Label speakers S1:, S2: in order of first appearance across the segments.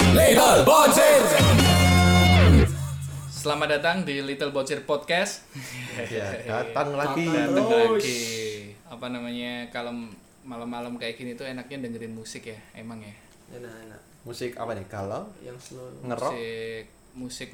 S1: Little Bocil.
S2: Selamat datang di Little Bocir Podcast.
S3: Ya, datang lagi.
S4: Iya.
S2: Datang
S4: Oh,
S2: lagi. Apa namanya? Kalau malam-malam kayak gini tuh enaknya dengerin musik ya, emang ya.
S4: enak-enak
S3: Musik apa nih? Kalau
S4: yang slow
S3: ngerok
S2: Musik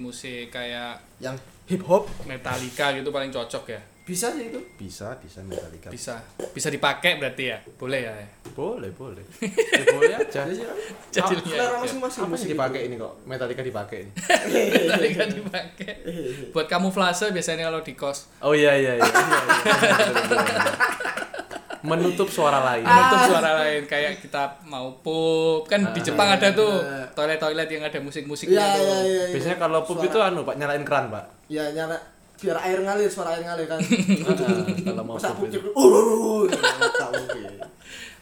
S2: musik-musik kayak
S4: yang hip hop
S2: Metallica gitu paling cocok ya.
S4: bisa sih itu
S3: bisa bisa Metallica.
S2: Bisa bisa dipakai berarti ya. Boleh
S4: Oh,
S2: ya.
S3: Boleh, boleh. Ya, boleh aja.
S4: Ada sih kan
S2: Jadi
S4: Ah,
S2: lihat
S4: selera
S2: ya.
S4: masing-masing
S3: Apa
S4: musik
S3: sih dipakai ini kok? Metallica dipakai ini.
S2: Metallica dipakai.
S4: Iya,
S2: Buat kamuflase biasanya kalau di kos.
S3: Oh iya iya iya. Menutup suara lain.
S4: Ah.
S2: menutup suara lain kayak kita mau pup kan di Jepang ada tuh toilet-toilet yang ada musik-musiknya
S4: iya
S2: tuh.
S4: iya iya
S3: Biasanya kalau pup itu anu, Pak, nyalain keran, Pak.
S4: ya nyara biar air ngalir suara air ngalir kan
S3: Kalau mau
S4: masa
S3: pup
S4: pucuk
S3: itu.
S4: uh, uh, uh, uh, tak mungkin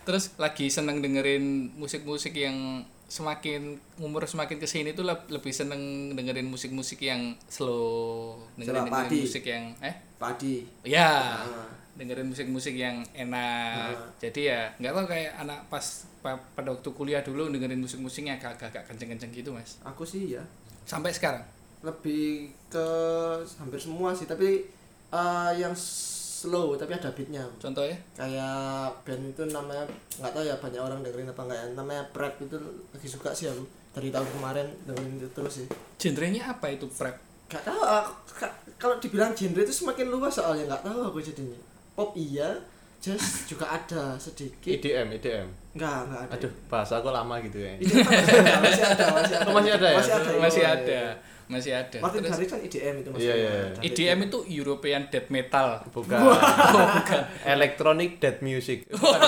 S2: Terus lagi seneng dengerin musik-musik yang semakin umur semakin kesini tuh leb- lebih seneng dengerin musik-musik yang slow, dengerin,
S4: Selapati.
S2: dengerin musik yang eh
S4: padi
S2: ya
S4: Ah.
S2: dengerin musik-musik yang enak. Jadi ya nggak tahu kayak anak pas pa- pada waktu kuliah dulu dengerin musik-musiknya agak-agak kenceng-kenceng gitu mas.
S4: aku sih ya
S2: Sampai sekarang.
S4: lebih ke hampir semua sih tapi eh, yang slow tapi ada beatnya
S2: Contohnya?
S4: kayak band itu namanya nggak tahu ya banyak orang dengerin apa enggak ya namanya Prep itu lagi suka sih aku dari tahun kemarin dengerin itu terus sih
S2: Genrenya apa itu prep?
S4: Gak tahu aku, ka- kalau dibilang genre itu semakin luas soalnya nggak tahu aku jadinya. Pop iya, jazz juga ada sedikit.
S3: IDM, IDM.
S4: Enggak, enggak ada.
S3: Aduh, bahasa aku lama gitu ya.
S4: IDM kan masih ada, masih ada.
S3: Oh, masih ada ya?
S4: Masih ada.
S2: Masih
S4: iya.
S2: ada, masih ada.
S4: Martin
S2: Terus
S4: Garrix kan IDM itu masih
S3: Iya,
S4: ada.
S3: iya, iya.
S4: Ada.
S2: EDM itu European Death Metal.
S3: Bukan. Electronic Dead Music. Bukan.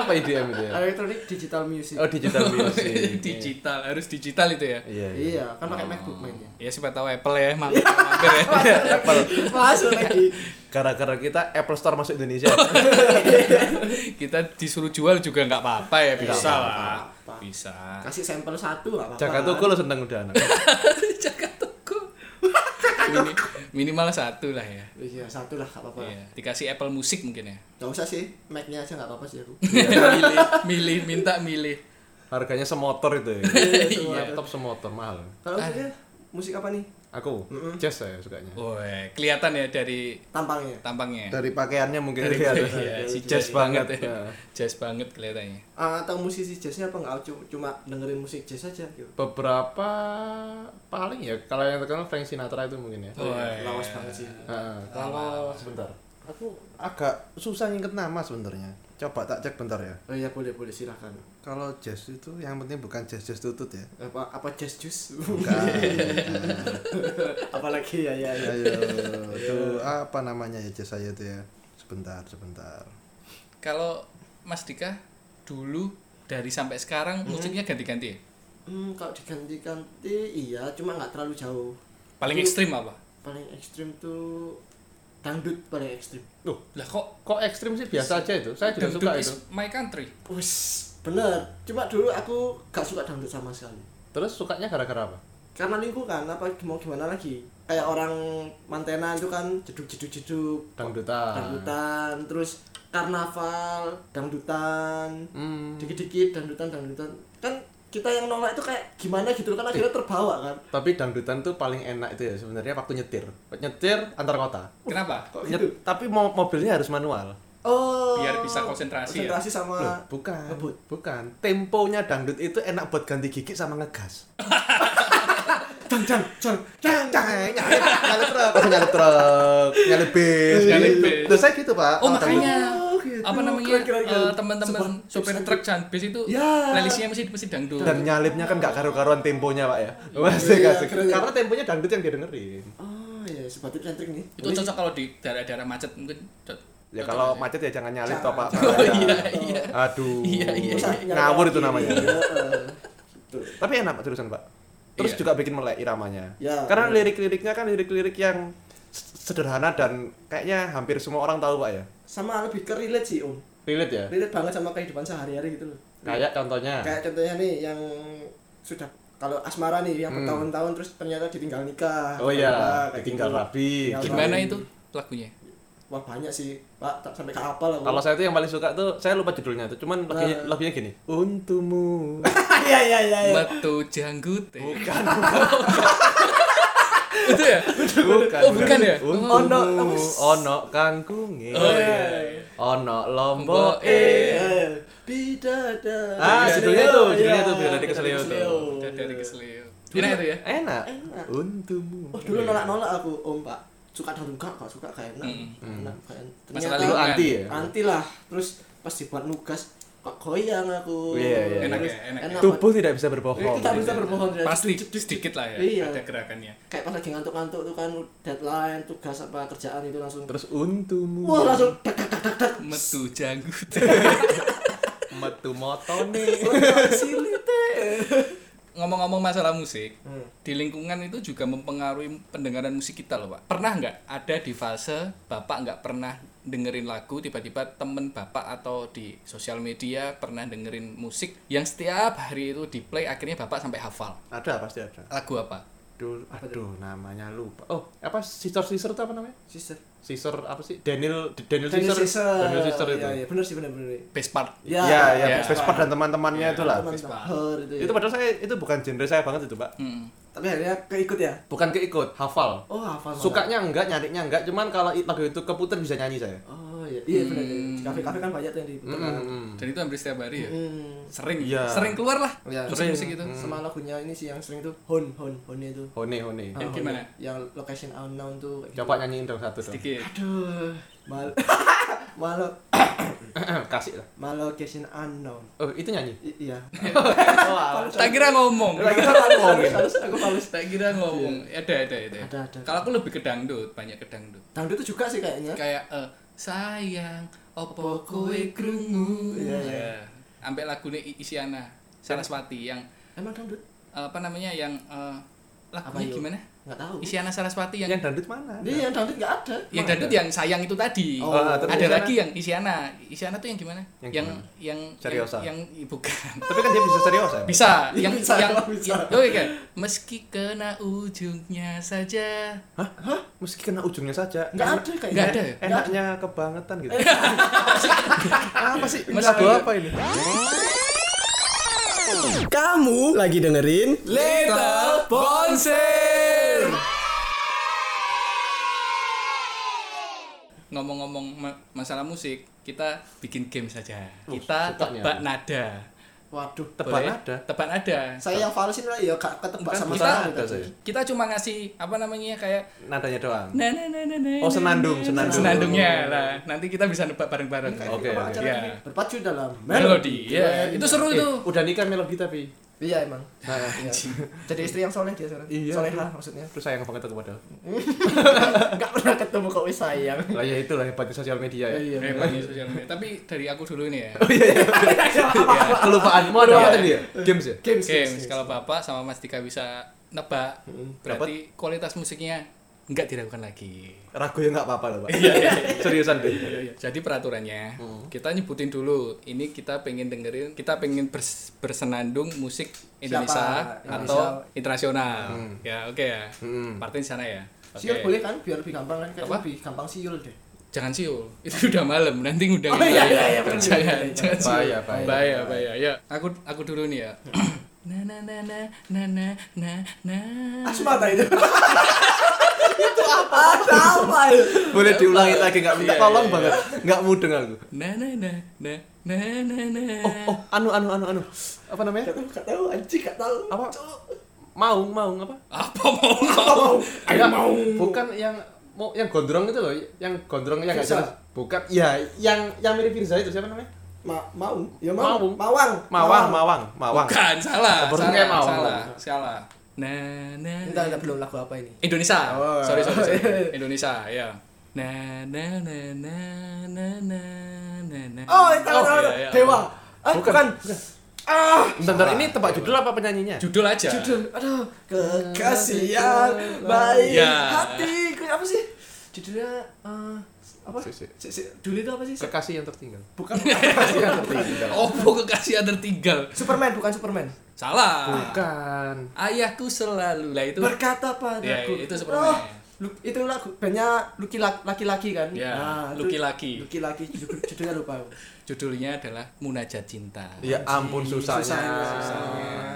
S3: Apa IDM itu ya?
S4: Electronic digital music.
S3: Oh, digital music.
S2: digital, harus digital itu ya.
S3: Iya, iya.
S4: Iya, kan pakai MacBook mainnya.
S2: Ya siapa tahu Apple ya, mampir, mampir ya.
S3: Iya.
S4: Masuk lagi.
S3: Gara-gara kita Apple Store masuk Indonesia.
S2: Kita disuruh jual juga nggak apa-apa ya, bisa
S4: nggak
S2: lah.
S4: apa-apa.
S2: Bisa.
S4: Kasih sampel satu enggak apa-apa.
S3: Jakarta tuh lo seneng udah anak.
S2: Jaga toko. Mini- minimal satu lah ya.
S4: Iya, satu lah enggak apa-apa.
S2: Iya. Dikasih Apple Music mungkin ya.
S4: Enggak usah sih, Mac-nya aja enggak apa-apa sih aku.
S2: milih, milih, minta milih.
S3: Harganya semotor itu ya.
S4: semua ada.
S3: Laptop semotor mahal.
S4: Kalau maksudnya musik apa nih?
S3: Aku jazz saya sukanya.
S2: Woi, kelihatan ya dari
S4: Tampangnya.
S2: tampangnya. ya?
S3: Dari pakaiannya mungkin dari
S2: Iya, si
S3: jazz banget.
S2: ya.
S3: Nah,
S2: Jazz banget kelihatannya.
S4: atau Ah, musisi jazznya apa enggak Cu- cuma dengerin musik jazz aja gitu.
S3: Beberapa paling ya kalau yang terkenal Frank Sinatra itu mungkin ya.
S2: Woi.
S4: Iya, Lawas banget sih.
S3: Nah, kalau sebentar. Aku agak susah nginget nama sebenarnya. Coba tak cek bentar ya.
S4: Oh iya boleh boleh silakan.
S3: Kalau jazz itu yang penting bukan jazz-jazz tutut ya.
S4: Apa apa jazz juice?
S3: Iya, Bukan.
S4: Apalagi ya ya ya.
S3: Ayo, tuh apa namanya ya jazz saya itu ya? Sebentar, sebentar.
S2: Kalau Mas Dika dulu dari sampai sekarang musiknya ganti-ganti ya?
S4: Hmm, kalau diganti-ganti iya cuma nggak terlalu jauh.
S2: Paling ekstrim apa?
S4: Paling ekstrim tuh dangdut paling ekstrim.
S3: Loh,
S2: Lah kok
S3: kok ekstrim sih biasa aja itu? Saya juga
S2: dangdut
S3: suka
S2: is
S3: itu.
S2: my country?
S4: Wes bener. Cuma dulu aku gak suka dangdut sama sekali.
S3: Terus sukanya gara-gara apa?
S4: Karena lingkungan apa mau gimana lagi? Kayak orang Mantena itu kan jeduk-jeduk-jeduk
S3: Dangdutan.
S4: dangdutan terus karnaval dangdutan
S3: Hmm,
S4: dikit-dikit dangdutan dangdutan kan kita yang nolak itu kayak gimana gitu kan akhirnya terbawa kan
S3: tapi dangdutan tuh paling enak itu ya sebenarnya waktu nyetir. Nyetir antar kota.
S2: Kenapa?
S4: kok
S3: Nyet- tapi mo- mobilnya harus manual.
S4: oh
S2: Biar bisa konsentrasi ya?
S4: konsentrasi sama
S3: Loh, bukan.
S4: ngebut.
S3: Bukan. Temponya dangdut itu enak buat ganti gigi sama ngegas. Cang cang cang cang cang nyalip nyalip truk, langsung nyalip truk, nyalip bis.
S2: Nyalip
S3: gitu.
S2: bis.
S3: Terus saya gitu, Pak.
S2: Oh
S3: sama
S2: makanya
S4: Oh, gitu.
S2: apa namanya
S4: Keren, keren, keren.
S2: eh, teman-teman
S4: Sebuah-
S2: sopir
S4: sebuah-
S2: truk dan bis itu
S4: Ya.
S2: playlistnya mesti mesti dangdut.
S3: dan nyalipnya kan gak karu-karuan temponya pak ya masih
S4: Iya,
S3: asik
S4: keren ya.
S3: karena temponya dangdut yang dia dengerin
S4: oh iya sebab itu sentrik nih Oh,
S2: Itu cocok kalau di daerah-daerah macet mungkin. co-
S3: ya
S2: cocok
S3: kalau
S2: aja.
S3: macet ya jangan nyalip toh pak
S4: Jangan.
S3: Bahaya.
S2: Iya, iya.
S3: aduh
S2: Iya, iya,
S4: Masa nyari
S3: ngawur
S4: lagi?
S3: itu namanya
S4: Iya, eh. Betul.
S3: tapi enak pak terusan pak terus
S2: Iya.
S3: juga bikin melek iramanya
S4: Ya,
S3: karena
S4: bener.
S3: lirik-liriknya kan lirik-lirik yang s- sederhana dan kayaknya hampir semua orang tahu pak ya
S4: sama lebih ke relate sih om
S3: relate ya
S4: relate banget sama kehidupan sehari-hari gitu loh
S3: kayak contohnya
S4: kayak contohnya nih yang sudah kalau asmara nih yang
S3: Hmm.
S4: bertahun-tahun terus ternyata ditinggal nikah
S3: oh iya
S4: Tiba-tiba kayak
S3: ditinggal
S4: gitu.
S3: rapi
S4: Tinggal
S3: gitu.
S2: Gimana
S4: Lain.
S2: itu lagunya?
S4: wah banyak sih Pak, tak sampai ke apa lah.
S3: Kalau saya itu yang paling suka tuh, saya lupa judulnya itu. Cuman lagunya,
S4: Nah.
S3: lagunya gini. Untumu.
S4: Iya iya iya. iya.
S2: Metu janggut.
S4: Oh.
S2: Bukan. Itu ya? Oh, bukan ya?
S3: Untumu.
S4: Ono, apa sih?
S3: Ono
S4: Eh,
S3: kangkunge.
S2: Oh, iya.
S3: Ono
S2: Mbok
S3: lombo.
S2: eh.
S4: Bidada.
S3: iya. Ah,
S4: Bidadari.
S3: judulnya tuh, judulnya
S4: Iya,
S3: tuh Bidadari Kesleo tuh.
S4: Kesleo.
S2: Udah dari keselio. Enak itu ya?
S3: Enak. Iya.
S4: Enak.
S3: Untumu.
S4: Oh, dulu nolak-nolak aku, Om, Pak. Suka dan suka, kalau suka kayak enak.
S2: Hmm.
S4: Enak kayak enak.
S2: Masalah
S3: Lu
S4: Ternyata
S2: lingkungan.
S3: Hmm. anti ya?
S4: anti lah. Terus pas dibuat nugas, kok goyang aku.
S3: Iya, iya.
S2: Enak
S4: Terus
S2: ya, enak ya.
S4: Pak.
S3: Tubuh tidak bisa berbohong. Iya.
S4: Kita Iya, bisa berbohong ya.
S2: Pasti sedikit lah ya.
S4: Iya.
S2: Ada gerakannya.
S4: kayak pas lagi ngantuk-ngantuk tuh kan deadline tugas apa kerjaan itu langsung
S3: Terus untumu.
S4: wah langsung dak
S2: Metu janggut.
S3: metu motone.
S4: silite
S2: Ngomong-ngomong masalah musik,
S4: Hmm.
S2: di lingkungan itu juga mempengaruhi pendengaran musik kita loh, Pak. Pernah nggak ada di fase Bapak nggak pernah dengerin lagu, tiba-tiba temen Bapak atau di sosial media pernah dengerin musik yang setiap hari itu di play, akhirnya Bapak sampai hafal.
S5: Ada pasti ada.
S2: Lagu apa?
S5: Dulu, aduh namanya lupa.
S3: Oh, apa Caesar Caesar itu apa namanya?
S4: sister
S3: Caesar apa sih? Daniel Daniel
S4: Daniel
S3: Caesar.
S4: Caesar
S3: Daniel Caesar itu. Iya,
S4: Iya, iya, bener sih bener bener
S2: Best part.
S5: Ya, ya,
S2: ya,
S5: Vespa dan teman-temannya itulah.
S4: teman
S2: Vespa.
S4: her itu ya.
S3: Itu padahal saya itu bukan genre saya banget itu, Pak.
S2: Hmm.
S4: tapi akhirnya keikut ya
S3: Bukan keikut, hafal.
S4: oh hafal malah.
S3: Sukanya enggak, nyarinya enggak, cuman kalau i- lagu itu keputer bisa nyanyi saya.
S4: oh iya iya bener bener. di kafe-kafe kan banyak tuh yang di
S2: Hmm.
S3: Mm-mm.
S2: Dan itu hampir setiap hari ya.
S4: Hmm.
S2: Sering,
S3: Iya.
S2: sering keluar lah
S4: Iya,
S2: musik-musik
S3: gitu.
S2: itu.
S3: Mm.
S4: sama lagunya ini sih yang sering tuh hon hon hon itu
S3: Hone hone.
S4: Ah,
S2: Yang
S4: Hon.
S2: gimana?
S4: yang location unknown tuh kayak gitu.
S3: Coba nyanyiin dong satu dong.
S2: Sedikit.
S4: aduh mal malo
S3: Kasih lah.
S4: malo location unknown
S3: Oh, itu nyanyi.
S4: I- iya
S3: Wow.
S2: Tak kira ngomong.
S3: Lagi kan kita ngomongin.
S4: harus aku halus
S2: Tak kira ngomong. Ada, ada, ada.
S4: Ada, ada.
S2: Iya. Kalau aku lebih ke dangdut, banyak ke dangdut.
S4: Dangdut itu juga sih kayaknya.
S2: kayak eh, sayang opo kowe krungu ya
S4: Iya, iya.
S2: sampai lagune I- Isyana Saraswati yang
S4: Emang dangdut?
S2: eh, apa namanya yang eh, lagunya
S4: Apa, Yu?
S2: gimana
S4: Enggak tahu.
S2: Isyana Saraswati yang
S3: Yang dangdut mana?
S4: Dia yang dangdut enggak ada.
S2: Iya. yang dangdut ya? yang sayang itu tadi
S4: Oh,
S3: Ah, terus
S2: ada
S3: Isyana?
S2: lagi yang Isyana Isyana tuh yang gimana
S3: Yang
S2: yang
S3: gimana?
S2: yang
S3: Seriosa?
S2: yang, yang bukan
S3: Tapi kan dia bisa serius ya.
S2: bisa yang
S4: Bisa,
S2: yang,
S4: bisa.
S2: yang- oke oke. meski kena ujungnya saja
S3: Hah? Hah? Meski kena ujungnya saja.
S4: Enggak ada kayaknya.
S2: Nggak ada ya?
S3: Enaknya kebangetan gitu. apa sih? Ini
S2: Mas,
S3: lagu
S2: enggak.
S3: apa ini?
S6: Kamu lagi dengerin
S2: Little Bonser. Ngomong-ngomong ma- masalah musik, kita bikin game saja. Kita
S3: sukanya.
S2: tebak nada.
S4: Waduh.
S3: Tebak
S2: Boleh?
S3: nada?
S2: Tebak nada.
S4: Saya yang falesin lah ya gak ketebak
S2: Bukan
S4: sama
S2: kita.
S4: sekali
S3: Ada
S4: tadi.
S3: saya.
S2: Kita cuma ngasih apa namanya kayak
S3: Nadanya doang.
S2: na na na na na.
S3: Oh, senandung,
S2: na-
S3: senandung.
S2: Senandungnya lah. Nanti kita bisa nebak bareng-bareng.
S3: Oke, oke.
S4: Apa acara
S2: Iya.
S4: ini berpacu dalam
S2: Melodi. Ya, itu seru
S3: Eh,
S2: tuh.
S3: udah nikah melodi tapi.
S4: Iya emang.
S3: Nah,
S4: Iya. Jadi istri yang soleh dia sekarang.
S3: Iya.
S4: Soleha maksudnya.
S3: terus sayang banget aku padahal.
S4: Enggak pernah ketemu kok wis sayang.
S3: Lah ya itulah hebatnya sosial media ya.
S4: Iya.
S2: Eh, banyak sosial media. Tapi dari aku dulu ini ya.
S3: Iya, Kelupaan. Oh, iya, Mau ada apa tadi ya? Games ya?
S4: Games.
S2: Oke,
S4: games.
S2: kalau Bapak sama Mas Dika bisa nebak,
S4: Hmm,
S2: berarti kualitas musiknya nggak diragukan lagi. Iya,
S5: Ragu ya nggak apa-apa loh pak.
S4: Iya,
S3: Seriusan deh.
S2: Jadi peraturannya,
S4: Hmm.
S2: kita nyebutin dulu. Ini kita pengen dengerin, kita pengen bers- bersenandung musik Indonesia
S4: Siapa?
S2: atau
S4: Indonesia. Hmm.
S2: internasional. Ya, oke ya.
S3: Hmm.
S2: Partai di sana ya. Oke.
S4: Siul boleh kan biar lebih gampang kan
S2: Apa?
S4: kayak lebih gampang siul deh.
S2: Jangan siul. Itu udah malam, nanti udah
S4: Oh, iya, iya, iya, bener,
S2: Jangan,
S4: bener,
S2: jangan siul.
S3: Bahaya, bahaya.
S2: Bahaya, bahaya. Ya, aku aku dulu nih ya.
S4: Hmm.
S2: na na na na na na na na.
S4: Ah, Sumatera itu. itu apa? Ada apa ya? itu?
S3: Boleh diulangi lagi nggak minta
S2: Iya,
S3: tolong
S2: iya,
S3: banget. Nggak mudeng aku.
S2: na na na na na na na
S3: Oh, oh, anu anu anu anu. Apa namanya?
S4: Gak tahu, gak tahu, anjing gak tahu.
S3: Apa? Maung, maung apa?
S4: Oh,
S2: apa mau ngomong
S3: Ayo mau. Bukan yang mau yang gondrong itu loh, yang gondrong yang nggak
S4: Firza.
S3: jelas. Bukan. Ya, yang yang mirip Firza itu siapa namanya?
S4: Ma mau, ya mau,
S3: Mau.
S4: mawang,
S3: Mawang, mawang, mawang.
S2: bukan salah
S3: Baru
S2: salah
S3: kayak mau.
S2: salah salah na na
S4: Entar entar belum lagu apa ini?
S2: Indonesia
S4: Oh.
S2: sorry sorry, sorry. Indonesia ya nah, na na na na na na na na
S4: Oh, itu tahu tahu,
S2: nah, iya, iya.
S4: Dewa. Ah,
S3: Bukan. Iya.
S4: bukan. Ah,
S3: Bentar, bentar, ini tempat judul apa penyanyinya?
S2: judul aja
S4: judul. Aduh, kekasih yang baik
S2: Ya.
S4: hati. Ku- Apa sih? Judulnya eh, apa?
S3: Si- si.
S4: Si- si- Dulu itu apa sih? Si-
S3: Kekasih yang tertinggal.
S4: Bukan
S2: Opo kekasih yang Oh, tertinggal
S4: Superman, bukan Superman.
S2: salah
S3: Bukan.
S2: ayahku selalu lah itu
S4: Berkata
S2: ya
S4: padaku.
S2: itu
S4: Oh,
S2: Superman
S4: Lu- itu lagu bandnya Lucky Lak- laki-laki kan
S2: Ya,
S4: itu
S2: Lucky-laki.
S4: laki-laki judul- judulnya lupa aku.
S2: Judulnya adalah Munajat Cinta.
S3: Ya ampun susahnya.
S4: ya.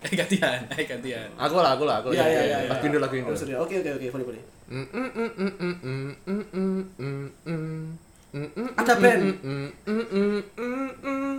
S2: Eh gantian, eh gantian.
S1: Aku lah, aku lah, aku
S4: Ya,
S1: lah.
S4: ya, ya, ya.
S1: Lagu Indo, lagu Indo.
S4: Oh, sorry. Oke, oke, oke, boleh, boleh.
S1: Mm, mm, mm, mm, mm, mm, mm, mm, mm, mm, mm, mm,
S4: Ada band.
S1: mm, mm, mm, mm, mm.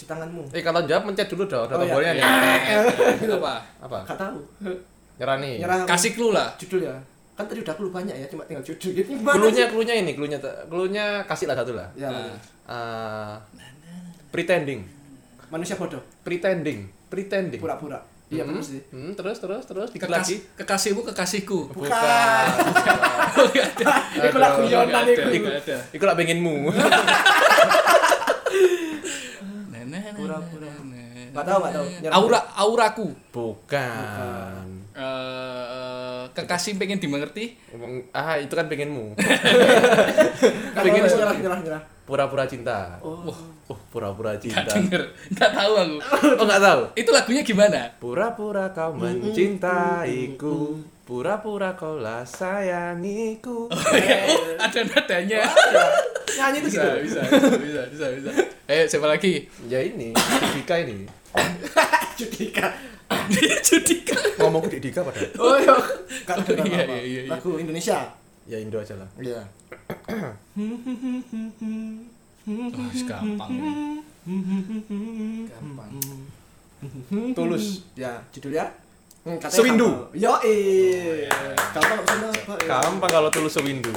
S4: di tanganmu.
S1: Eh kalau jawab mencet dulu dong, ada
S4: Oh, iya.
S1: tombolnya
S3: Ya,
S1: nih.
S2: Apa?
S1: Apa?
S4: Enggak tahu.
S1: Nyerah nih.
S3: Eh,
S4: Nyerah.
S2: Kasih clue lah.
S4: judul ya. Kan tadi udah aku banyak ya, cuma tinggal judul. Ini gimana
S1: Cluenya,
S4: sih?
S1: cluenya ini, cluenya, cluenya kasih lah satu lah.
S4: Ya, boleh.
S1: Eh, pretending,
S4: manusia bodoh,
S1: pretending,
S3: Eh.
S1: pretending.
S4: pura-pura. Iya,
S1: Hmm,
S4: benar sih.
S1: hmm, terus, terus, terus, dikit
S2: Kekas-
S1: lagi.
S2: kekasihmu kekasihku.
S4: Bukan.
S2: Nggak ada.
S4: Iku lagu Yonan
S2: Nggak ada,
S4: iku.
S2: nggak ada.
S1: Iku lah pengenmu.
S2: Na, na, na,
S4: Pura-pura.
S2: na, na.
S4: Nggak tahu, nggak tahu. Nyerah.
S2: Aura auraku.
S3: Bukan.
S2: Eh, kekasih pengen dimengerti.
S1: Emang- Ah, itu kan pengenmu.
S4: Nggak tahu, nyerah, nyerah, nyerah.
S1: Pura-pura cinta.
S4: Oh.
S3: Oh, pura-pura
S2: Gak
S3: cinta.
S2: denger. Gak tahu aku.
S3: Oh, nggak tahu.
S2: Itu lagunya gimana?
S3: Pura-pura kau mencintaiku, pura-pura kau lah sayangiku.
S2: Oh, ada nadanya.
S4: Eh. Nyanyi itu
S2: Bisa,
S4: gitu.
S2: bisa, bisa, bisa, bisa, bisa. Ayo siapa lagi?
S1: Ya ini, Dika ini.
S4: Judika.
S2: Judika.
S3: Ngomongku di Dika padahal.
S4: Oh, iya. Nggak tahu
S2: Iya,
S4: apa-apa.
S2: iya, iya, iya.
S4: Lagu Indonesia.
S3: Ya Indo aja lah.
S4: Iya.
S2: Oh, gampang.
S4: Gampang.
S3: Tulus.
S4: Ya, judulnya Hmm, katanya
S3: Sewindu.
S4: gampang. Yoi. Gampang kok sana, Pak. Ya.
S3: Gampang kalau tulus sewindu.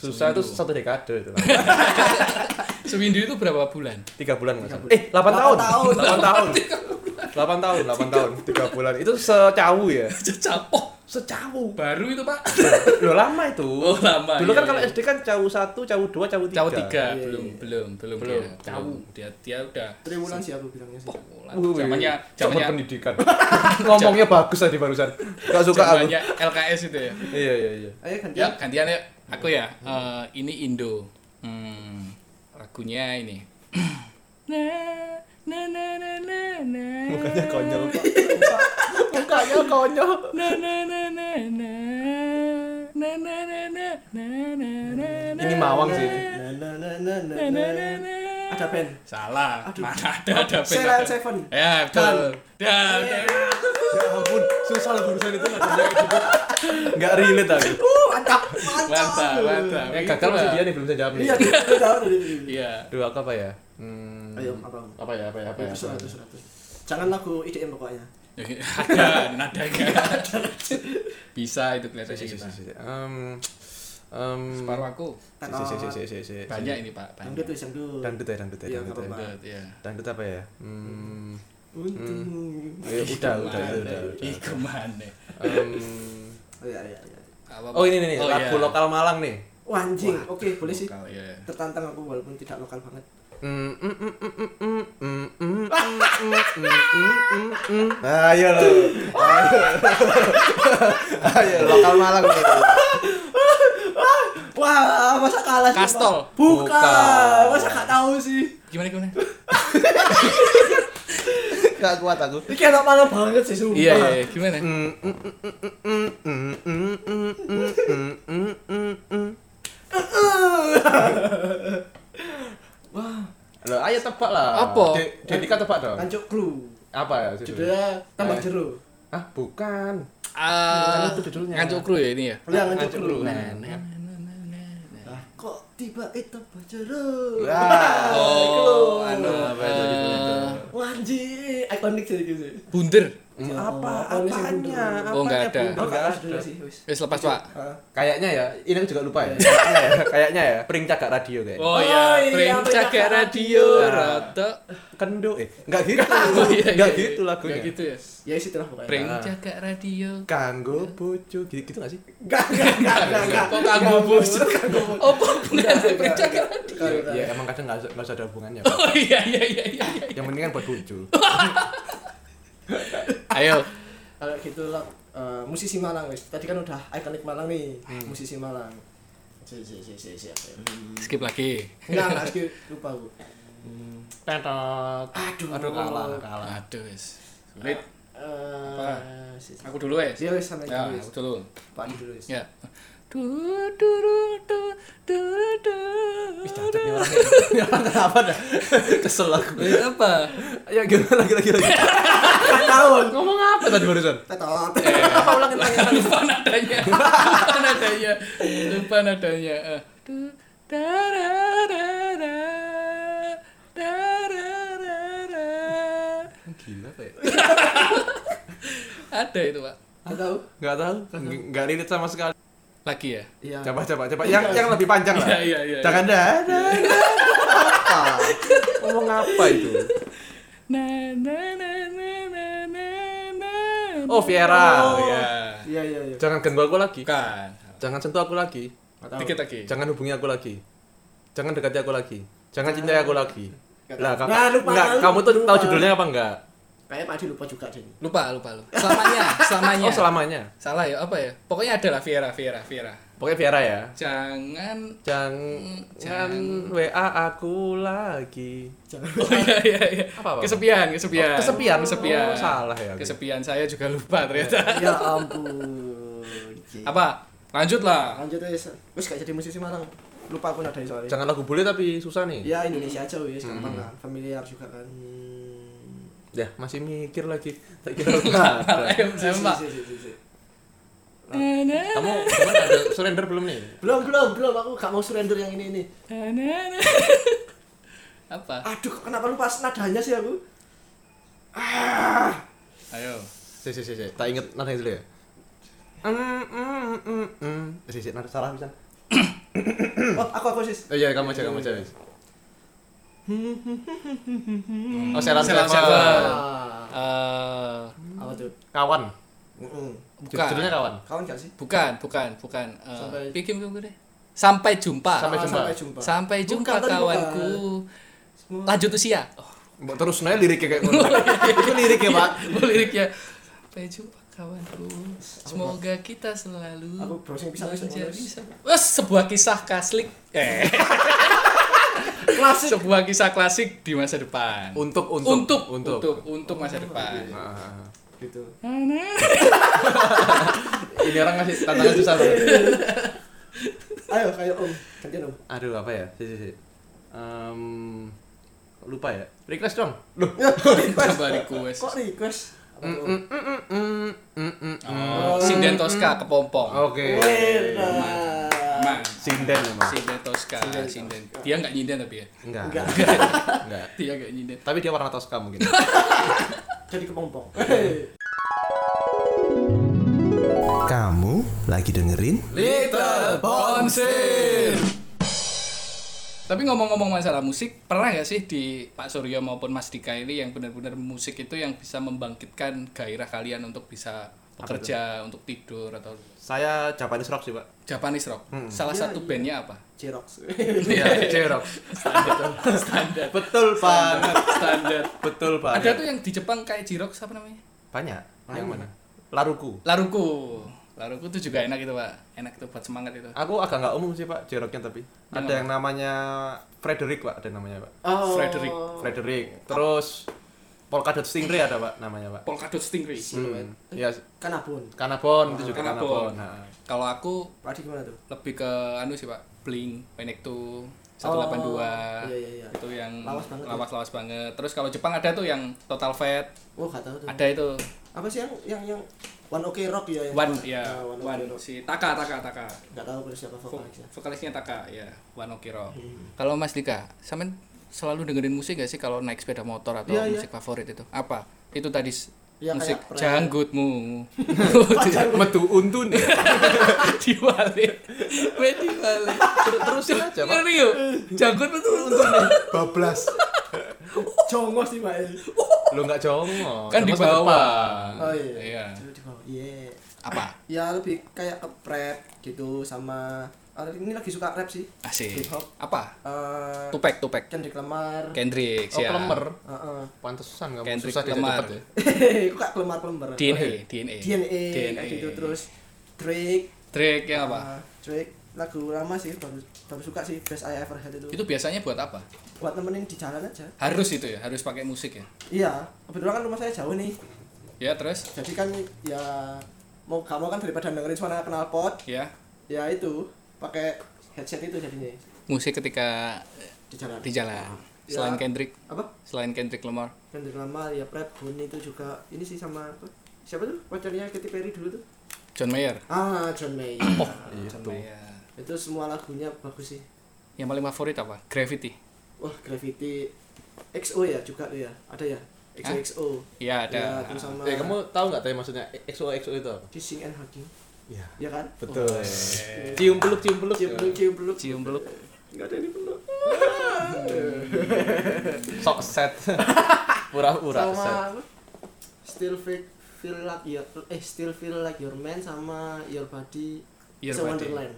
S1: Susah itu satu dekade itu.
S2: Sewindu itu berapa bulan?
S3: Tiga bulan nggak salah.
S4: bulan.
S3: Eh, delapan tahun.
S4: Delapan tahun.
S3: Delapan tahun. Delapan tahun, delapan tahun. Tiga bulan. Itu secawu ya.
S2: Cecapoh.
S3: Secawu.
S2: Baru itu, Pak.
S3: Loh lama itu.
S2: Oh, lama.
S3: Dulu kan
S2: iya,
S3: kalau
S2: iya.
S3: SD kan cawu satu, cawu dua, cawu tiga.
S2: Cawu tiga
S4: Iya,
S2: belum
S4: iya.
S2: belum belum
S1: Belum.
S2: dia, Cawu dia dia udah
S4: Triwulan Eh, sih aku bilangnya sih.
S2: Wulan.
S1: Wih,
S2: zamannya
S1: zaman
S2: zamannya
S1: pendidikan. Ngomongnya bagus tadi barusan.
S3: Gak suka aku.
S2: zamannya LKS itu ya.
S3: Iya, iya, iya.
S4: Ayo gantian.
S2: Ya gantian ya aku ya. Eh, ini Indo. Hmm, lagunya ini. na na na na na na.
S3: Mukanya konyol. Pak.
S1: Mukanya konyol.
S2: Na na na na na. Na na na na na na na. na.
S1: Ini mawang sih.
S4: Na, na, na, na, na,
S2: Na na na
S4: na.
S2: na.
S4: Ada band.
S2: Salah.
S4: Aduh. Oh,
S2: Mana ada ada band,
S4: Sheila
S2: ada.
S4: Seven.
S2: Ya, betul. Dan.
S3: Ya ampun, susah lah barusan itu nggak ada gitu. Nggak relate aku.
S4: Uh, mantap,
S2: Mantap, mantap.
S3: Eh,
S1: Yang gagal masih dia nih belum bisa jawab nih.
S4: Iya, kita tahu dari.
S2: Iya.
S1: Aduh, aku apa ya? Hmm,
S4: Ayo, apa?
S3: Iya.
S1: apa ya, apa ya, apa ya?
S4: Itu surat, itu surat. Jangan lagu IDM pokoknya.
S2: ada nadanya bisa itu kelihatannya kita
S1: Um, um,
S2: separuh aku
S3: Si, si, si, si, si, si.
S2: banyak ini pak banyak
S4: Dangdut wis dangdut.
S3: Dangdut ya, dangdut ya,
S4: Iya,
S3: dangdut ya.
S4: nggak
S2: Dangdut, ya
S3: Dangdut apa ya? Hmm.
S4: Untung.
S3: Ya, udah, udah,
S2: Mana?
S3: udah, udah, udah.
S2: Iku mana?
S1: um,
S4: Oh, Iya, iya, iya.
S2: Apa, Pak?
S3: Oh ini nih, nih,
S2: Oh,
S3: lagu
S2: iya.
S3: lokal Malang nih.
S4: Oh, anjing. Oke, boleh sih.
S2: Lokal, iya.
S4: Tertantang aku walaupun tidak lokal banget.
S1: mm, mm, mm, mm, mm, mm, mm.
S3: Ayo lo. Ayo, lokal Malang nih.
S4: Wah, masa kalah sih, Pak?
S2: Kastol.
S4: Bukan.
S3: Bukan.
S4: Masa gak tahu sih?
S2: gimana gimana
S3: Gak kuat aku.
S4: Ini enak malam banget sih, sumpah.
S2: iya iya iya. gimana
S1: Loh, ayo tebak lah.
S2: Apa?
S1: De- Dedika tebak dong.
S4: Kancuk clue.
S1: Apa ya? Judulnya?
S2: Iya.
S4: Judulnya tambah
S2: Eh.
S4: jeruk.
S1: Ah, bukan.
S2: ah
S1: itu judulnya.
S2: ngancuk kru ya ini ya
S4: Udah ngancuk clue.
S2: Nah, nah, nah, nah, nah, nah.
S4: Lah, kok tiba eh, itu bajero?
S3: Wah.
S4: Oh,
S2: anu apa
S3: itu judulnya
S2: itu
S4: Wanji, ikonik sih gitu.
S2: bunder
S3: Iya, apa
S4: Apa nih sih,
S3: apanya
S4: Bunda?
S2: Oh, nggak ada.
S3: Bunda? Nggak ada.
S2: nah.
S7: Sudah sih, wis.
S2: Wis lepas, Pak.
S4: Ah,
S3: kayaknya ya ini juga lupa ya kayaknya ya, kayaknya ya pering cagak radio kayak
S2: Oh,
S7: iya,
S2: iya, Pring
S7: Pring
S2: Jaga
S7: Jaga
S2: Radio
S3: Radio.
S2: Rata.
S3: kendo eh nggak gitu
S2: iya, iya,
S3: nggak
S2: iya.
S3: gitu lagunya Ah.
S2: Nggak gitu ya.
S7: Ya wis itulah pokoknya.
S2: Pring Jaga Radio.
S3: kanggo bojo gitu gitu nggak sih
S4: Enggak, enggak, enggak, enggak, enggak.
S2: Kok kanggo bojo? Apa hubungannya Pring Jaga Radio?
S3: ya emang kadang nggak usah- nggak usah ada hubungannya Pak.
S2: Oh iya iya iya iya.
S3: yang penting kan buat bojo
S2: Ayo.
S4: Kalau gitu lah eh, musisi Malang wis. Tadi kan udah ikonik Malang nih, musisi Malang. Si si si si si. Hmm.
S2: Skip lagi.
S4: Enggak, enggak, sih, lupa aku. Aduh,
S3: aduh kalah kalah
S2: Aduh, wis. Sulit.
S4: Eh, si- si-
S2: Aku dulu, wis.
S4: Ya wis sampai
S2: Ya,
S4: dulu.
S2: aku dulu.
S4: Pak Andi dulu. wis.
S2: Ya. Du du du du du.
S3: kenapa dah kesel aku
S2: Eh, apa?
S3: ya gimana lagi lagi lagi Nggak tahu ngomong apa tadi barusan
S4: Tetot.
S3: apa ulangin lagi
S2: lupa nadanya lupa nadanya lupa nadanya eh. Du- darara, darara.
S3: gila
S2: ya?
S3: kayak
S2: ada itu pak
S4: Nggak tahu.
S3: nggak tahu Nggak- nggak relate sama sekali
S2: lagi ya
S4: Iya.
S3: coba coba coba yang yang lebih panjang lah
S2: Iya, iya, iya, iya.
S3: jangan dah dah, dah. apa ngomong apa itu
S2: na na na na na na na
S3: oh Viera
S2: ya
S4: Iya, iya, iya.
S3: jangan ganggu aku lagi
S2: bukan
S3: jangan sentuh aku lagi
S4: Nggak tahu.
S2: dikit lagi
S3: jangan hubungi aku lagi jangan dekati aku lagi jangan cintai aku lagi
S4: Nggak
S3: lah
S4: tahu.
S3: kamu
S4: Nah, lupa,
S3: nggak,
S4: lupa,
S3: kamu tuh
S4: lupa.
S3: tahu judulnya apa enggak
S4: Kayaknya Pak Andi lupa juga deh. ini.
S2: lupa lupa lupa selamanya selamanya
S3: oh selamanya
S2: salah ya apa ya pokoknya ada lah Viera Viera Viera
S3: pokoknya Viera ya
S2: jangan
S3: jangan
S2: Jangan.
S3: WA aku lagi
S2: Oh iya iya iya.
S3: Apa, apa?
S2: Kesepian,
S3: Oh,
S2: kesepian.
S3: kesepian.
S2: kesepian.
S3: Oh, salah ya aku.
S2: Kesepian saya juga lupa ternyata.
S4: Ya ampun. Ji.
S2: Apa? Lanjutlah.
S4: Lanjut wis. Wis gak jadi musisi Malang. Lupa aku nadai soalnya.
S3: jangan lagu boleh tapi susah nih ya,
S4: Ya Indonesia aja wis gampang kan. Familiar juga kan. Hmm.
S3: masih mikir lagi tak kira ada.
S2: Ayo,
S4: Si, si,
S2: Pak.
S4: si, si, si, si.
S3: kamu kamu ada surrender belum nih
S4: Belum, belum, belum. Aku gak mau surrender yang ini ini.
S2: Apa?
S4: Aduh, kenapa lupa nadanya sih aku?
S2: Ayo.
S3: si si si si tak inget nada dulu ya si si nada salah bisa
S4: Oh, aku aku sis.
S3: oh iya kamu aja kamu aja Wis. oh Sheila
S2: Sheila
S3: Sheila.
S2: Sheila.
S4: Ah,
S2: Eh,
S4: apa tuh?
S3: kawan
S4: Mm-mm.
S2: bukan.
S3: judulnya kawan
S4: Kawan gak sih?
S2: Bukan, bukan, bukan. Eh,
S4: Sampai-
S2: pikir pikir deh. Sampai jumpa.
S3: Sampai
S4: Ah,
S3: jumpa.
S4: Sampai jumpa.
S2: Sampai jumpa
S4: Bukan, tadi
S2: kawanku.
S4: bukan.
S2: Lanjut usia. Oh,
S3: Mbak, terus nanya liriknya kayak ngono. itu liriknya pak
S2: liriknya. Sampai jumpa kawanku. Semoga kita selalu
S4: Aku browsing bisa bisa.
S2: menjadi sama- Wes, sebuah kisah kaslik. Eh.
S4: Klasik.
S2: sebuah kisah klasik di masa depan.
S3: untuk untuk
S2: untuk
S3: untuk,
S2: untuk, untuk masa depan.
S3: Ah, ah, ah.
S4: Gitu.
S3: ah. ini orang ngasih tantangan susah banget
S4: Ayo, kayak Om. Gantian Om.
S3: aduh apa ya si si si Em, lupa ya request dong Mm, Loh.
S2: Coba request.
S4: Kok request? Apa tuh?
S3: mm,
S2: Oh, Sinden Tosca kepompong.
S3: oke Eh,
S4: nah. Wera.
S2: Man.
S3: Oh. sinden emang
S2: Sinden Tosca, Sinden. Dia nggak nyinden tapi ya.
S3: enggak
S4: Enggak.
S3: enggak
S2: Dia nggak nyinden.
S3: tapi dia warna toska mungkin
S4: Jadi kepompong.
S8: Kamu lagi dengerin?
S3: Little Bonsir
S2: Tapi ngomong-ngomong masalah musik, pernah nggak sih di Pak Suryo maupun Mas Dika ini yang benar-benar musik itu yang bisa membangkitkan gairah kalian untuk bisa bekerja, untuk tidur atau
S3: saya Japanese rock sih pak
S2: Japanese rock? Salah
S4: Iya,
S2: satu
S4: iya.
S2: bandnya apa?
S4: Jerox.
S3: iya J-rock
S2: Standar.
S3: betul banget
S2: Standar.
S3: betul
S2: Ada
S3: banget
S2: tuh yang di Jepang kayak Jirox apa namanya?
S3: banyak yang mana laruku
S2: Laruku. Laruku tuh juga enak itu, Pak. Enak tuh buat semangat itu.
S3: aku agak nggak umum sih pak J-rocknya tapi
S2: Yang
S3: ada yang namanya Frederick pak ada namanya pak
S4: Oh.
S2: Frederick.
S3: Frederick terus Polkadot Stingray ada pak namanya pak
S2: Polkadot Stingray.
S3: Hmm. Ya,
S4: Kanabun.
S3: Kanabon itu juga Kanabon.
S2: Kanabon.
S3: Nah,
S2: Kalau aku
S4: Pak Adi gimana tuh?
S2: lebih ke anu sih, Pak. Bling, Benektu, 182.
S4: Oh, iya, iya, iya.
S2: Itu yang
S4: Lawas banget ya.
S2: lawas, lawas banget. Terus kalau Jepang ada tuh yang Total Fat.
S4: Oh, gak tahu tuh.
S2: Ada itu
S4: Apa sih yang yang yang One Ok Rock ya? Yang
S2: One ya,
S4: Ah, One
S2: One
S4: Ok Rock.
S2: si Taka, Taka, Taka.
S4: Gak tahu aku siapa
S2: Vo-
S4: vokalisnya. Hmm.
S2: Vokalisnya Taka, ya. One Ok Rock. Kalau Mas Dika, sampean selalu dengerin musik gak sih kalau naik sepeda motor atau
S4: Iya, iya.
S2: musik favorit itu? Apa? Itu tadi s-
S4: Iya,
S2: musik
S4: kayak rap.
S2: janggutmu
S3: metu untun
S2: diwalik Weh, diwalik
S3: terusin aja pak
S2: ngeri yo janggut itu
S8: bablas
S4: Oh, Jongos sih, Pak.
S3: lu nggak congok
S2: kan di
S3: Congok sama
S2: bawah
S4: Oh iya.
S2: Iya.
S4: Dulu di bawah. Iya.
S2: apa
S4: Ya lebih kayak ke rap gitu sama ah, ini lagi suka rap sih.
S2: asik
S4: Hip hop.
S2: apa
S4: Eh
S2: tupek tupek
S4: Kendrick Lamar.
S2: Kendrick
S3: depan. oh
S2: ya
S3: klemer
S4: Heeh.
S3: pantesan nggak mau
S2: Kendrick
S3: susah diajak
S2: Lemar.
S3: cepet ya
S4: Hehehe, Kok kayak kelemar-kelembar.
S2: DNA DNA
S4: DNA, kayak gitu terus Drake
S2: Drake yang ya, apa
S4: ah, Drake lagu lama sih baru baru suka sih Best I Ever Had itu.
S2: itu biasanya buat apa
S4: buat nemenin di jalan aja
S2: harus itu ya harus pakai musik ya
S4: iya kebetulan kan rumah saya jauh nih
S2: ya terus
S4: jadi kan ya mau kamu kan daripada dengerin suara knalpot
S2: ya
S4: ya itu pakai headset itu jadinya
S2: musik ketika
S4: di jalan
S2: di jalan
S4: Ya.
S2: selain Kendrick
S4: apa
S2: selain Kendrick Lamar
S4: Kendrick Lamar ya Brad Boone itu juga ini sih sama apa? siapa tuh pacarnya Katy Perry dulu tuh
S2: John Mayer
S4: ah John Mayer
S2: Oh.
S4: John
S2: John
S4: Mayer.
S2: Mayer
S4: itu semua lagunya bagus sih
S2: yang paling favorit apa Gravity
S4: wah Gravity XO ya juga tuh ya ada ya XO
S2: Hah?
S4: XO
S2: ya ada
S4: ya terus sama
S3: eh kamu tahu nggak tadi maksudnya XO XO itu apa Iya.
S4: Kissing and Hugging
S8: ya
S4: ya kan
S8: betul
S3: Eh. cium peluk cium peluk
S4: cium peluk cium peluk
S2: cium peluk
S4: Iya. nggak ada yang peluk
S3: sok set pura-pura
S4: sama
S3: set
S4: apa? still feel feel like your eh still feel like your man sama your body
S2: Your
S4: is a
S2: Body. Nah.
S4: wonderland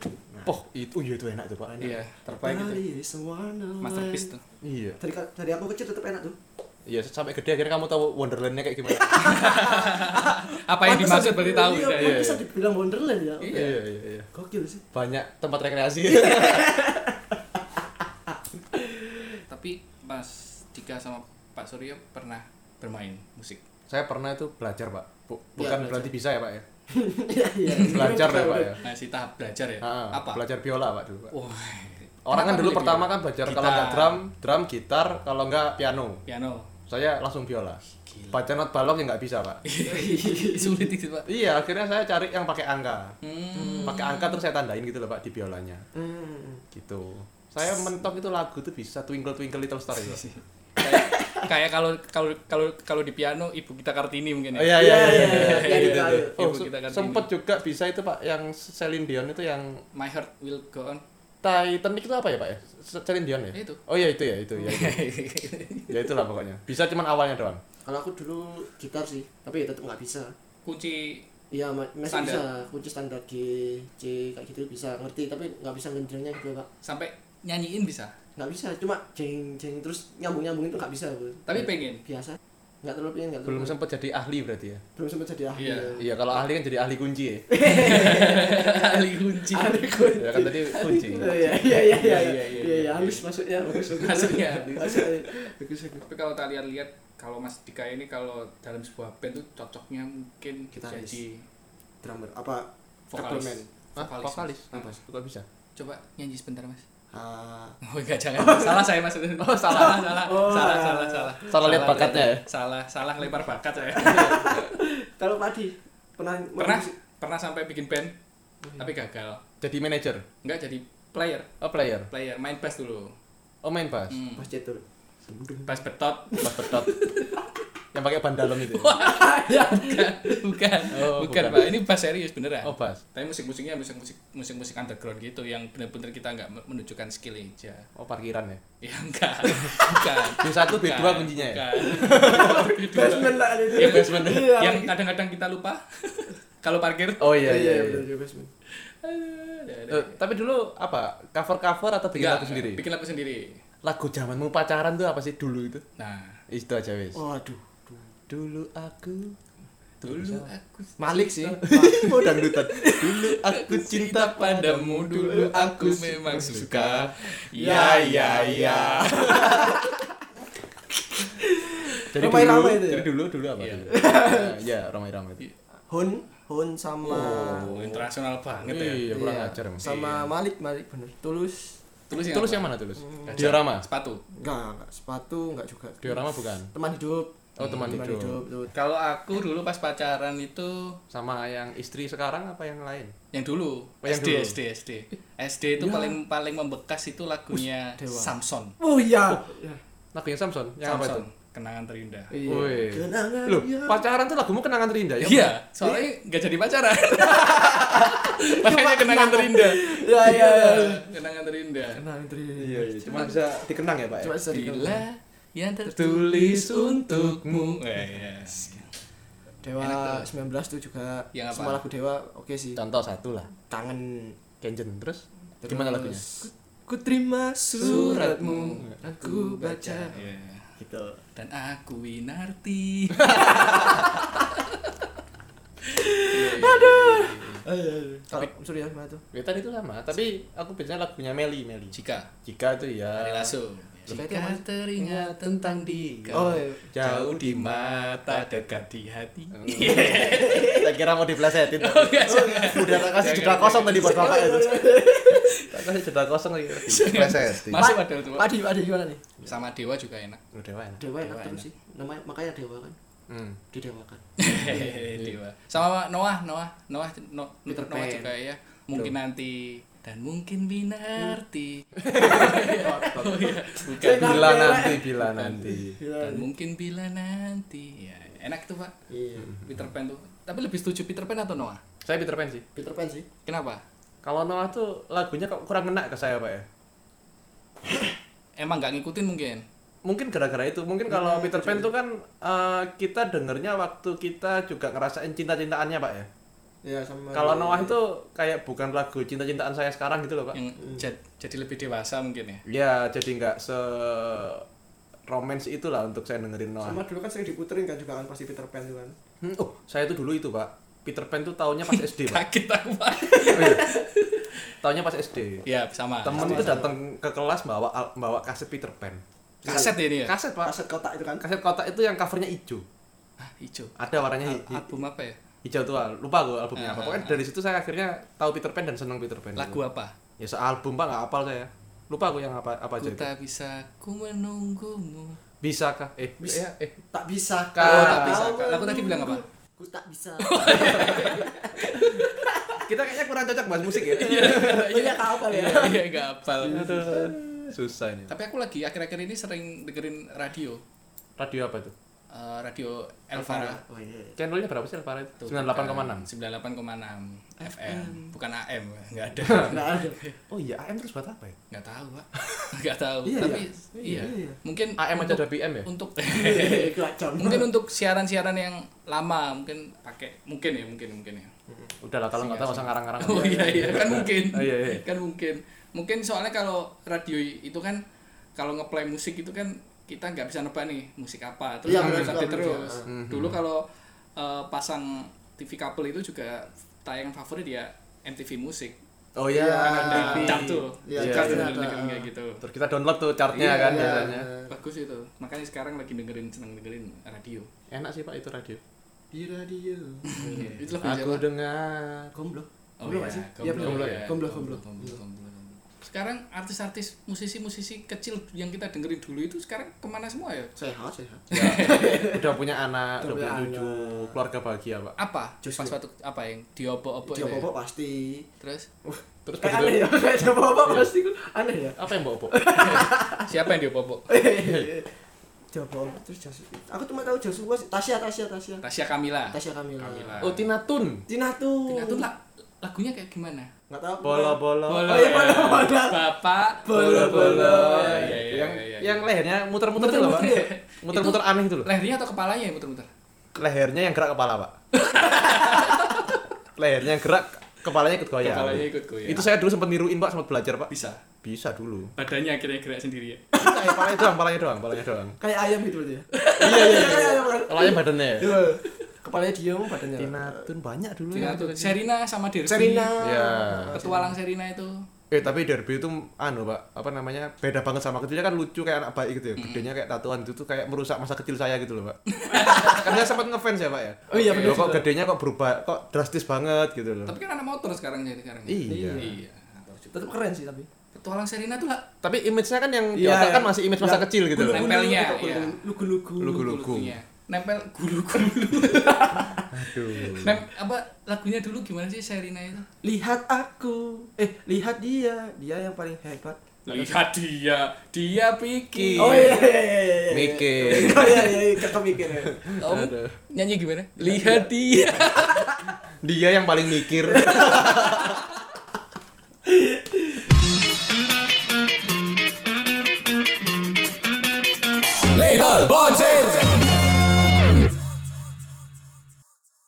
S8: oh itu iya itu enak tuh pak
S2: iya
S3: terbaik itu
S4: Body is a wonderland
S2: masterpiece tuh
S8: iya
S4: dari ka- dari aku kecil tetap enak tuh
S3: iya sampai gede akhirnya kamu tahu Wonderlandnya kayak gimana
S2: apa yang
S4: Pantesan
S2: dimaksud
S4: di-
S2: berarti tahu
S4: iya,
S2: udah, ya.
S4: pantesan dibilang wonderland ya
S3: iya iya iya
S4: gokil sih
S3: banyak tempat rekreasi
S2: tapi Mas Dika sama Pak Suryo pernah bermain musik
S3: saya pernah itu belajar pak Bu-
S4: Iya,
S3: bukan
S4: belajar.
S3: berarti bisa ya pak ya
S4: Iya, iya.
S3: belajar ya pak ya
S2: masih tahap belajar ya
S3: Ah,
S2: apa
S3: belajar biola pak dulu pak.
S2: Wah,
S3: orang kan
S2: kenapa
S3: dulu
S2: milih
S3: pertama
S2: biola?
S3: kan belajar
S2: Gitar.
S3: kalau nggak drum drum gitar kalau nggak piano
S2: piano
S3: saya langsung biola baca not balok ya nggak bisa pak
S2: sulit itu Pak
S3: iya akhirnya saya cari yang pakai angka
S2: hmm.
S3: pakai angka terus saya tandain gitu loh pak di biolanya
S4: Hmm.
S3: gitu saya mentok itu lagu tuh bisa twinkle twinkle little star itu Pak.
S2: kayak kayak kalau kalau kalau kalau di piano ibu kita kartini mungkin
S3: Oh, iya iya
S2: ya
S3: iya iya,
S4: Iya, iya,
S3: iya,
S4: iya,
S3: gitu
S4: iya,
S3: tuh.
S2: iya.
S3: oh
S2: Ibu
S3: se-
S2: kita kan
S3: sempet juga bisa itu pak yang Celine Dion itu yang
S2: my heart will go on
S3: Titanic itu apa ya pak ya Celine Dion ya
S2: Itu.
S3: oh iya itu ya itu ya itu. ya itulah pokoknya bisa cuman awalnya doang
S4: kalau aku dulu gitar sih tapi ya tetap nggak bisa
S2: kunci
S4: Iya, ma- masih
S2: Standar.
S4: bisa kunci standar G, C kayak gitu bisa ngerti, tapi nggak bisa ngendrengnya gitu pak.
S2: sampai nyanyiin bisa
S4: Nggak bisa, cuma jeng jeng terus nyambung nyambung itu nggak bisa Bu.
S2: tapi pengen
S4: biasa nggak terlalu pengen nggak terlalu
S3: belum sempat jadi ahli berarti ya
S4: belum sempat jadi ahli
S2: Iya,
S4: ya.
S3: iya kalau ahli kan jadi ahli kunci ya
S2: ahli kunci
S4: ahli kunci
S3: ya kan tadi kunci
S4: iya iya iya iya
S3: Iya,
S4: iya
S3: iya,
S4: iya iya halus maksudnya bagus bagus
S2: Maksudnya halus.
S4: maksudnya iya. bagus bagus
S2: tapi kalau kalian lihat kalau Mas Dika ini kalau dalam sebuah band tuh cocoknya mungkin
S4: Gitaris.
S2: jadi
S4: drummer apa
S2: vokalis
S4: Tableman.
S3: Hah? vokalis
S4: Apa?
S3: kok bisa
S2: coba nyanyi sebentar Mas
S4: Ah,
S2: Oh enggak jangan. Salah saya Mas. Oh, salah salah. salah salah salah.
S3: Salah lihat bakatnya ya?
S2: Salah, salah lempar bakat saya.
S4: kalau padi pernah
S2: pernah pernah sampai bikin band tapi gagal.
S3: jadi manajer
S2: Enggak jadi player,
S3: oh player
S2: player main bass dulu.
S3: oh main bass
S2: Hmm.
S4: pas cetur
S2: Bass betot.
S3: bass pedot yang pakai ban dalam itu ya?
S2: bukan, bukan.
S3: Oh,
S2: bukan,
S3: bukan.
S2: Pak. Ini bass serius beneran.
S3: oh bass
S2: Tapi musik-musiknya musik-musik musik-musik underground gitu yang bener-bener kita nggak me- menunjukkan skill aja.
S3: oh parkiran ya
S2: Ya enggak. Bukan.
S3: B1, B2
S2: Bukan,
S3: kuncinya ya?
S2: bukan.
S4: basement lah itu
S2: Yang-
S3: Iya, Basement.
S2: yang kadang-kadang kita lupa kalau parkir ya,
S3: oh iya
S4: iya
S3: iya, iya.
S4: bener, basement
S3: Eh, tapi dulu apa cover cover atau bikin
S2: Enggak,
S3: lagu sendiri
S2: bikin lagu sendiri
S3: lagu zamanmu pacaran tuh apa sih dulu itu
S2: nah
S3: itu aja wes
S4: waduh
S3: dulu aku
S2: dulu aku
S3: Malik sih mau dangdutan dulu aku cinta padamu dulu aku
S2: memang suka
S3: ya ya ya jadi
S4: Ramai
S3: dulu
S4: ramai itu ya?
S3: jadi dulu dulu apa
S2: Iya.
S3: dulu ya ramai ramai itu
S4: Hon Hon sama
S2: oh, internasional banget ya
S3: iya kurang
S4: Iya,
S3: ajar emang
S4: sama Malik Malik bener tulus
S2: terus yang,
S3: tulus
S2: apa?
S3: yang mana tulus
S2: Gajah.
S3: diorama
S2: sepatu
S4: enggak enggak sepatu enggak juga
S3: diorama bukan
S4: teman hidup
S3: oh teman hidup
S4: tuh.
S2: kalau aku dulu pas pacaran itu
S3: sama yang istri sekarang apa yang lain
S2: yang dulu
S3: Oh, yang
S2: SD
S3: dulu. Iya.
S2: SD SD SD itu paling paling membekas itu lagunya
S4: Dewa.
S2: Samson
S4: oh iya
S3: lagunya Samson Iya. yang apa itu
S2: Samson kenangan terindah.
S3: Woi.
S4: Iya. Kenangan
S3: Loh,
S4: yang-
S3: pacaran tuh lagumu kenangan terindah ya?
S2: Iya, soalnya nggak jadi pacaran. Makanya kenangan terindah.
S4: ya
S2: iya,
S4: ya
S2: Kenangan terindah.
S4: kenangan terindah
S3: Iya, iya. Cuma bisa dikenang ya, Pak ya?
S4: Nah, coba sering
S2: Bila yang tertulis untukmu. Eh, iya.
S4: Dewa 19 tuh juga
S3: Iya,
S2: Yang apa?
S4: semua lagu Dewa oke sih
S3: Contoh satu lah.
S4: tangan
S3: Kenjen terus.
S4: Terus,
S3: Gimana lagunya?
S4: ku terima suratmu aku baca
S2: Iya.
S4: gitu
S2: Dan aku winarti.
S4: Eh, kalau Surya gimana tuh
S3: Ya tadi itu sama, tapi aku biasanya lagunya Meli, Meli.
S2: Jika
S3: Jika itu ya
S2: Ari Lasso. Jika teringat tentang dia.
S4: oh iya.
S2: Jauh di mata, dekat di hati.
S3: Saya kira mau diplesetin. Udah tak kasih jeda kosong tadi buat Bapak itu. Tak kasih jeda kosong lagi.
S8: Presetin.
S2: Masuk pada itu. Pak.
S4: Padi Padi gimana nih
S2: Sama Dewa juga enak.
S3: Udah wae.
S4: Dewa enak
S2: Dewa
S4: terus
S2: enak.
S4: sih namanya makanya Dewa kan
S3: Hmm.
S4: didewakan
S2: Dewa. Iya. Sama Noah, Noah, Noah, no,
S4: Peter
S2: Noah
S4: Pan.
S2: juga ya. Mungkin nanti dan mungkin binarti
S4: oh, iya.
S2: Bukan.
S3: Bila nanti, bila nanti.
S2: dan mungkin bila nanti ya enak itu pak
S4: iya
S3: Hmm.
S2: Peter Pan tuh tapi lebih setuju Peter Pan atau Noah
S3: Saya Peter Pan sih.
S4: Peter Pan sih
S2: kenapa
S3: Kalau Noah tuh lagunya kok kurang enak ke saya, Pak ya.
S2: emang nggak ngikutin mungkin
S3: Mungkin gara-gara itu. Mungkin kalau Peter Pan tuh kan eh, kita dengernya waktu kita juga ngerasain cinta-cintaannya, Pak ya.
S4: ya sama
S3: Kalau Noah itu kayak bukan lagu cinta-cintaan saya sekarang gitu loh, Pak.
S2: yang jad- jadi lebih dewasa mungkin ya
S3: Ya, jadi nggak se romance itulah untuk saya dengerin Noah.
S4: sama dulu kan sering diputerin kan juga kan pasti Peter Pan tuh kan
S3: Hmm, oh, saya itu dulu itu, Pak. Peter Pan tuh tahunnya pas SD, Pak.
S2: kaget aku pak
S3: Tahunnya pas SD.
S2: ya sama
S3: Temen itu datang ke kelas bawa al- bawa kaset Peter Pan.
S2: kaset ya ini ya
S3: Kaset, Pak.
S4: aset kotak itu kan
S3: Kaset kotak itu yang covernya hijau.
S2: ah, hijau
S3: Ada warnanya hi-
S2: Al-
S3: hi-
S2: album apa ya
S3: hijau tua. Lupa gue albumnya
S2: Ah,
S3: apa.
S2: ah,
S3: Pokoknya dari situ saya akhirnya tahu Peter Pan dan senang Peter Pan.
S2: lagu apa
S3: Ya sealbum, Pak, nggak hafal saya. Lupa gue yang apa apa aja.
S2: ku
S3: itu.
S2: tak bisa ku menunggumu
S3: Bisakah? Eh,
S4: Bisa.
S3: ya, eh.
S4: tak bisa
S3: Kak.
S2: oh tak bisa Kak. lagu tadi bilang apa Oh, iya.
S4: ku tak bisa
S3: Kita kayaknya kurang cocok bahas musik ya.
S4: banyak kau kali ya
S2: iya nggak hafal
S3: Susah ini.
S2: tapi aku lagi akhir-akhir ini sering dengerin radio
S3: Radio apa itu?
S2: Eh, radio Elvara
S4: Oh, iya.
S3: Channelnya berapa sih Alvarez?
S2: Tuh,
S3: 98,6.
S2: 98,6 FM bukan AM nggak ada
S4: Nah, ada.
S3: Oh iya, AM terus buat apa ya?
S2: nggak tahu pak nggak tahu
S4: Iya,
S2: tapi
S4: iya.
S2: iya mungkin
S3: AM aja
S2: untuk,
S3: ada PM ya?
S2: untuk
S4: Kelacam.
S2: mungkin untuk siaran-siaran yang lama mungkin pakai mungkin ya mungkin mungkin ya
S3: Udah lah kalau nggak tahu nggak usah ngarang-ngarang.
S2: oh iya iya kan mungkin
S3: Oh, iya, iya.
S2: kan mungkin mungkin soalnya kalau radio itu kan kalau ngeplay musik itu kan kita nggak bisa nebak nih musik apa terus
S4: Iya,
S2: harus
S4: benar,
S2: update
S4: benar.
S2: terus
S3: Mhm.
S2: dulu kalau eh, pasang TV kabel itu juga tayangan favorit ya MTV musik
S3: Oh iya,
S4: Iya,
S3: kan ada
S4: TV.
S2: chart tuh
S4: Iya,
S2: chart tuh
S4: iya.
S2: dengerin kayak gitu
S3: Terus kita download tuh chartnya kan
S4: Iya,
S3: biasanya.
S2: bagus itu makanya sekarang lagi dengerin seneng dengerin radio
S3: Enak sih Pak itu radio.
S4: Di radio. Iya.
S2: itu lebih
S3: Aku
S2: jauh
S3: dengar.
S4: Gomblo.
S2: Oh
S4: Gomblo
S2: iya,
S4: nggak sih? Iya,
S2: gomblo,
S4: gomblo
S2: iya.
S4: ya. Gomblo,
S2: Gomblo,
S4: gomblo.
S2: gomblo, gomblo, gomblo. Sekarang artis-artis, musisi-musisi kecil yang kita dengerin dulu itu sekarang kemana semua ya?
S4: Sehat, sehat.
S3: Udah punya anak,
S4: Udah
S3: udah punya
S4: punya
S3: cucu, keluarga bahagia Pak.
S2: Apa?
S4: Justru.
S2: Pas waktu apa yang diobok-obok
S4: Dia
S2: itu ya?
S4: bobo pasti.
S2: Terus Iya.
S3: Terus
S4: Kayak
S3: begitu
S4: aneh ya, kayak dia bobo pasti kan aneh ya.
S3: apa yang bawa Pak?
S2: siapa yang diobok-obok? Iya.
S4: Dia bobo terus Joshua. Aku cuma tahu Joshua sih. Tasya, Tasya, Tasya.
S2: Tasya Kamila.
S4: Tasya Kamila.
S2: Kamila.
S3: Oh Tina Tun.
S4: Tina tuh.
S2: Nah, itu la- lagunya kayak gimana?
S4: Enggak tahu. aku.
S3: Bolo bolo.
S2: Bolo,
S4: iya, bolo,
S2: ya.
S4: bolo.
S2: Bapak
S4: Bolo, bolo.
S2: Iya, iya, iya,
S3: Yang
S2: iya, iya.
S3: yang lehernya muter-muter itu loh Pak.
S2: Muter-muter.
S3: Muter-muter aneh itu loh.
S2: lehernya atau kepalanya yang muter-muter?
S3: Lehernya yang gerak kepala Pak. Lehernya yang gerak, kepalanya ikut goyang.
S2: Kepalanya ikut ya. goyang.
S3: Itu saya dulu sempat niruin Pak, sempat belajar Pak.
S2: Bisa.
S3: Bisa dulu.
S2: Badannya akhirnya gerak sendiri ya.
S3: Bisa, ya, palanya doang, palanya doang, palanya doang.
S4: Kayak ayam gitu berarti ya.
S3: Iya, iya,
S4: Kayak ayam kan.
S3: Palanya badannya ya.
S4: Iya. Kepalanya diem, badannya.
S3: Tinatun banyak dulu ya.
S2: Tina tuh. Serina sama Derby.
S4: Serina.
S3: Iya.
S2: Petualang Serina itu.
S3: Eh tapi Derby itu anu pak, apa namanya beda banget sama kecilnya kan lucu kayak anak bayi gitu ya. Gedenya kayak tatuan itu tuh kayak merusak masa kecil saya gitu loh pak. Karena sempat ngefans ya pak ya.
S4: Oh iya,
S3: Loh,
S4: bener
S3: kok
S4: juga.
S3: gedenya kok berubah, kok drastis banget gitu loh.
S2: Tapi kan anak motor sekarang jadi sekarang.
S3: Iya.
S2: Iya.
S4: Tetap keren sih tapi.
S2: Petualang Serina tuh lah
S3: Tapi image-nya kan yang di
S4: Iya,
S3: otak kan
S4: iya.
S3: masih image masa
S4: Yang
S3: kecil gitu loh.
S2: Nempelnya, iya.
S3: Lugu-lugu.
S4: Lugu-lugu.
S3: Iya.
S2: lugu-lugunya. nempel gulu-gulu.
S3: Aduh.
S4: Nah,
S2: Nem apa lagunya dulu gimana sih Sherina itu?
S4: Lihat aku, eh lihat dia, dia yang paling hebat.
S3: Nah, iya.
S2: Lihat iya, dia, dia pikir.
S4: Oh iya iya iya iya. iya.
S1: Mikir.
S4: Oh iya iya iya, kakak mikir. ya.
S2: Om, nyanyi gimana? Lihat dia.
S3: Dia yang paling mikir.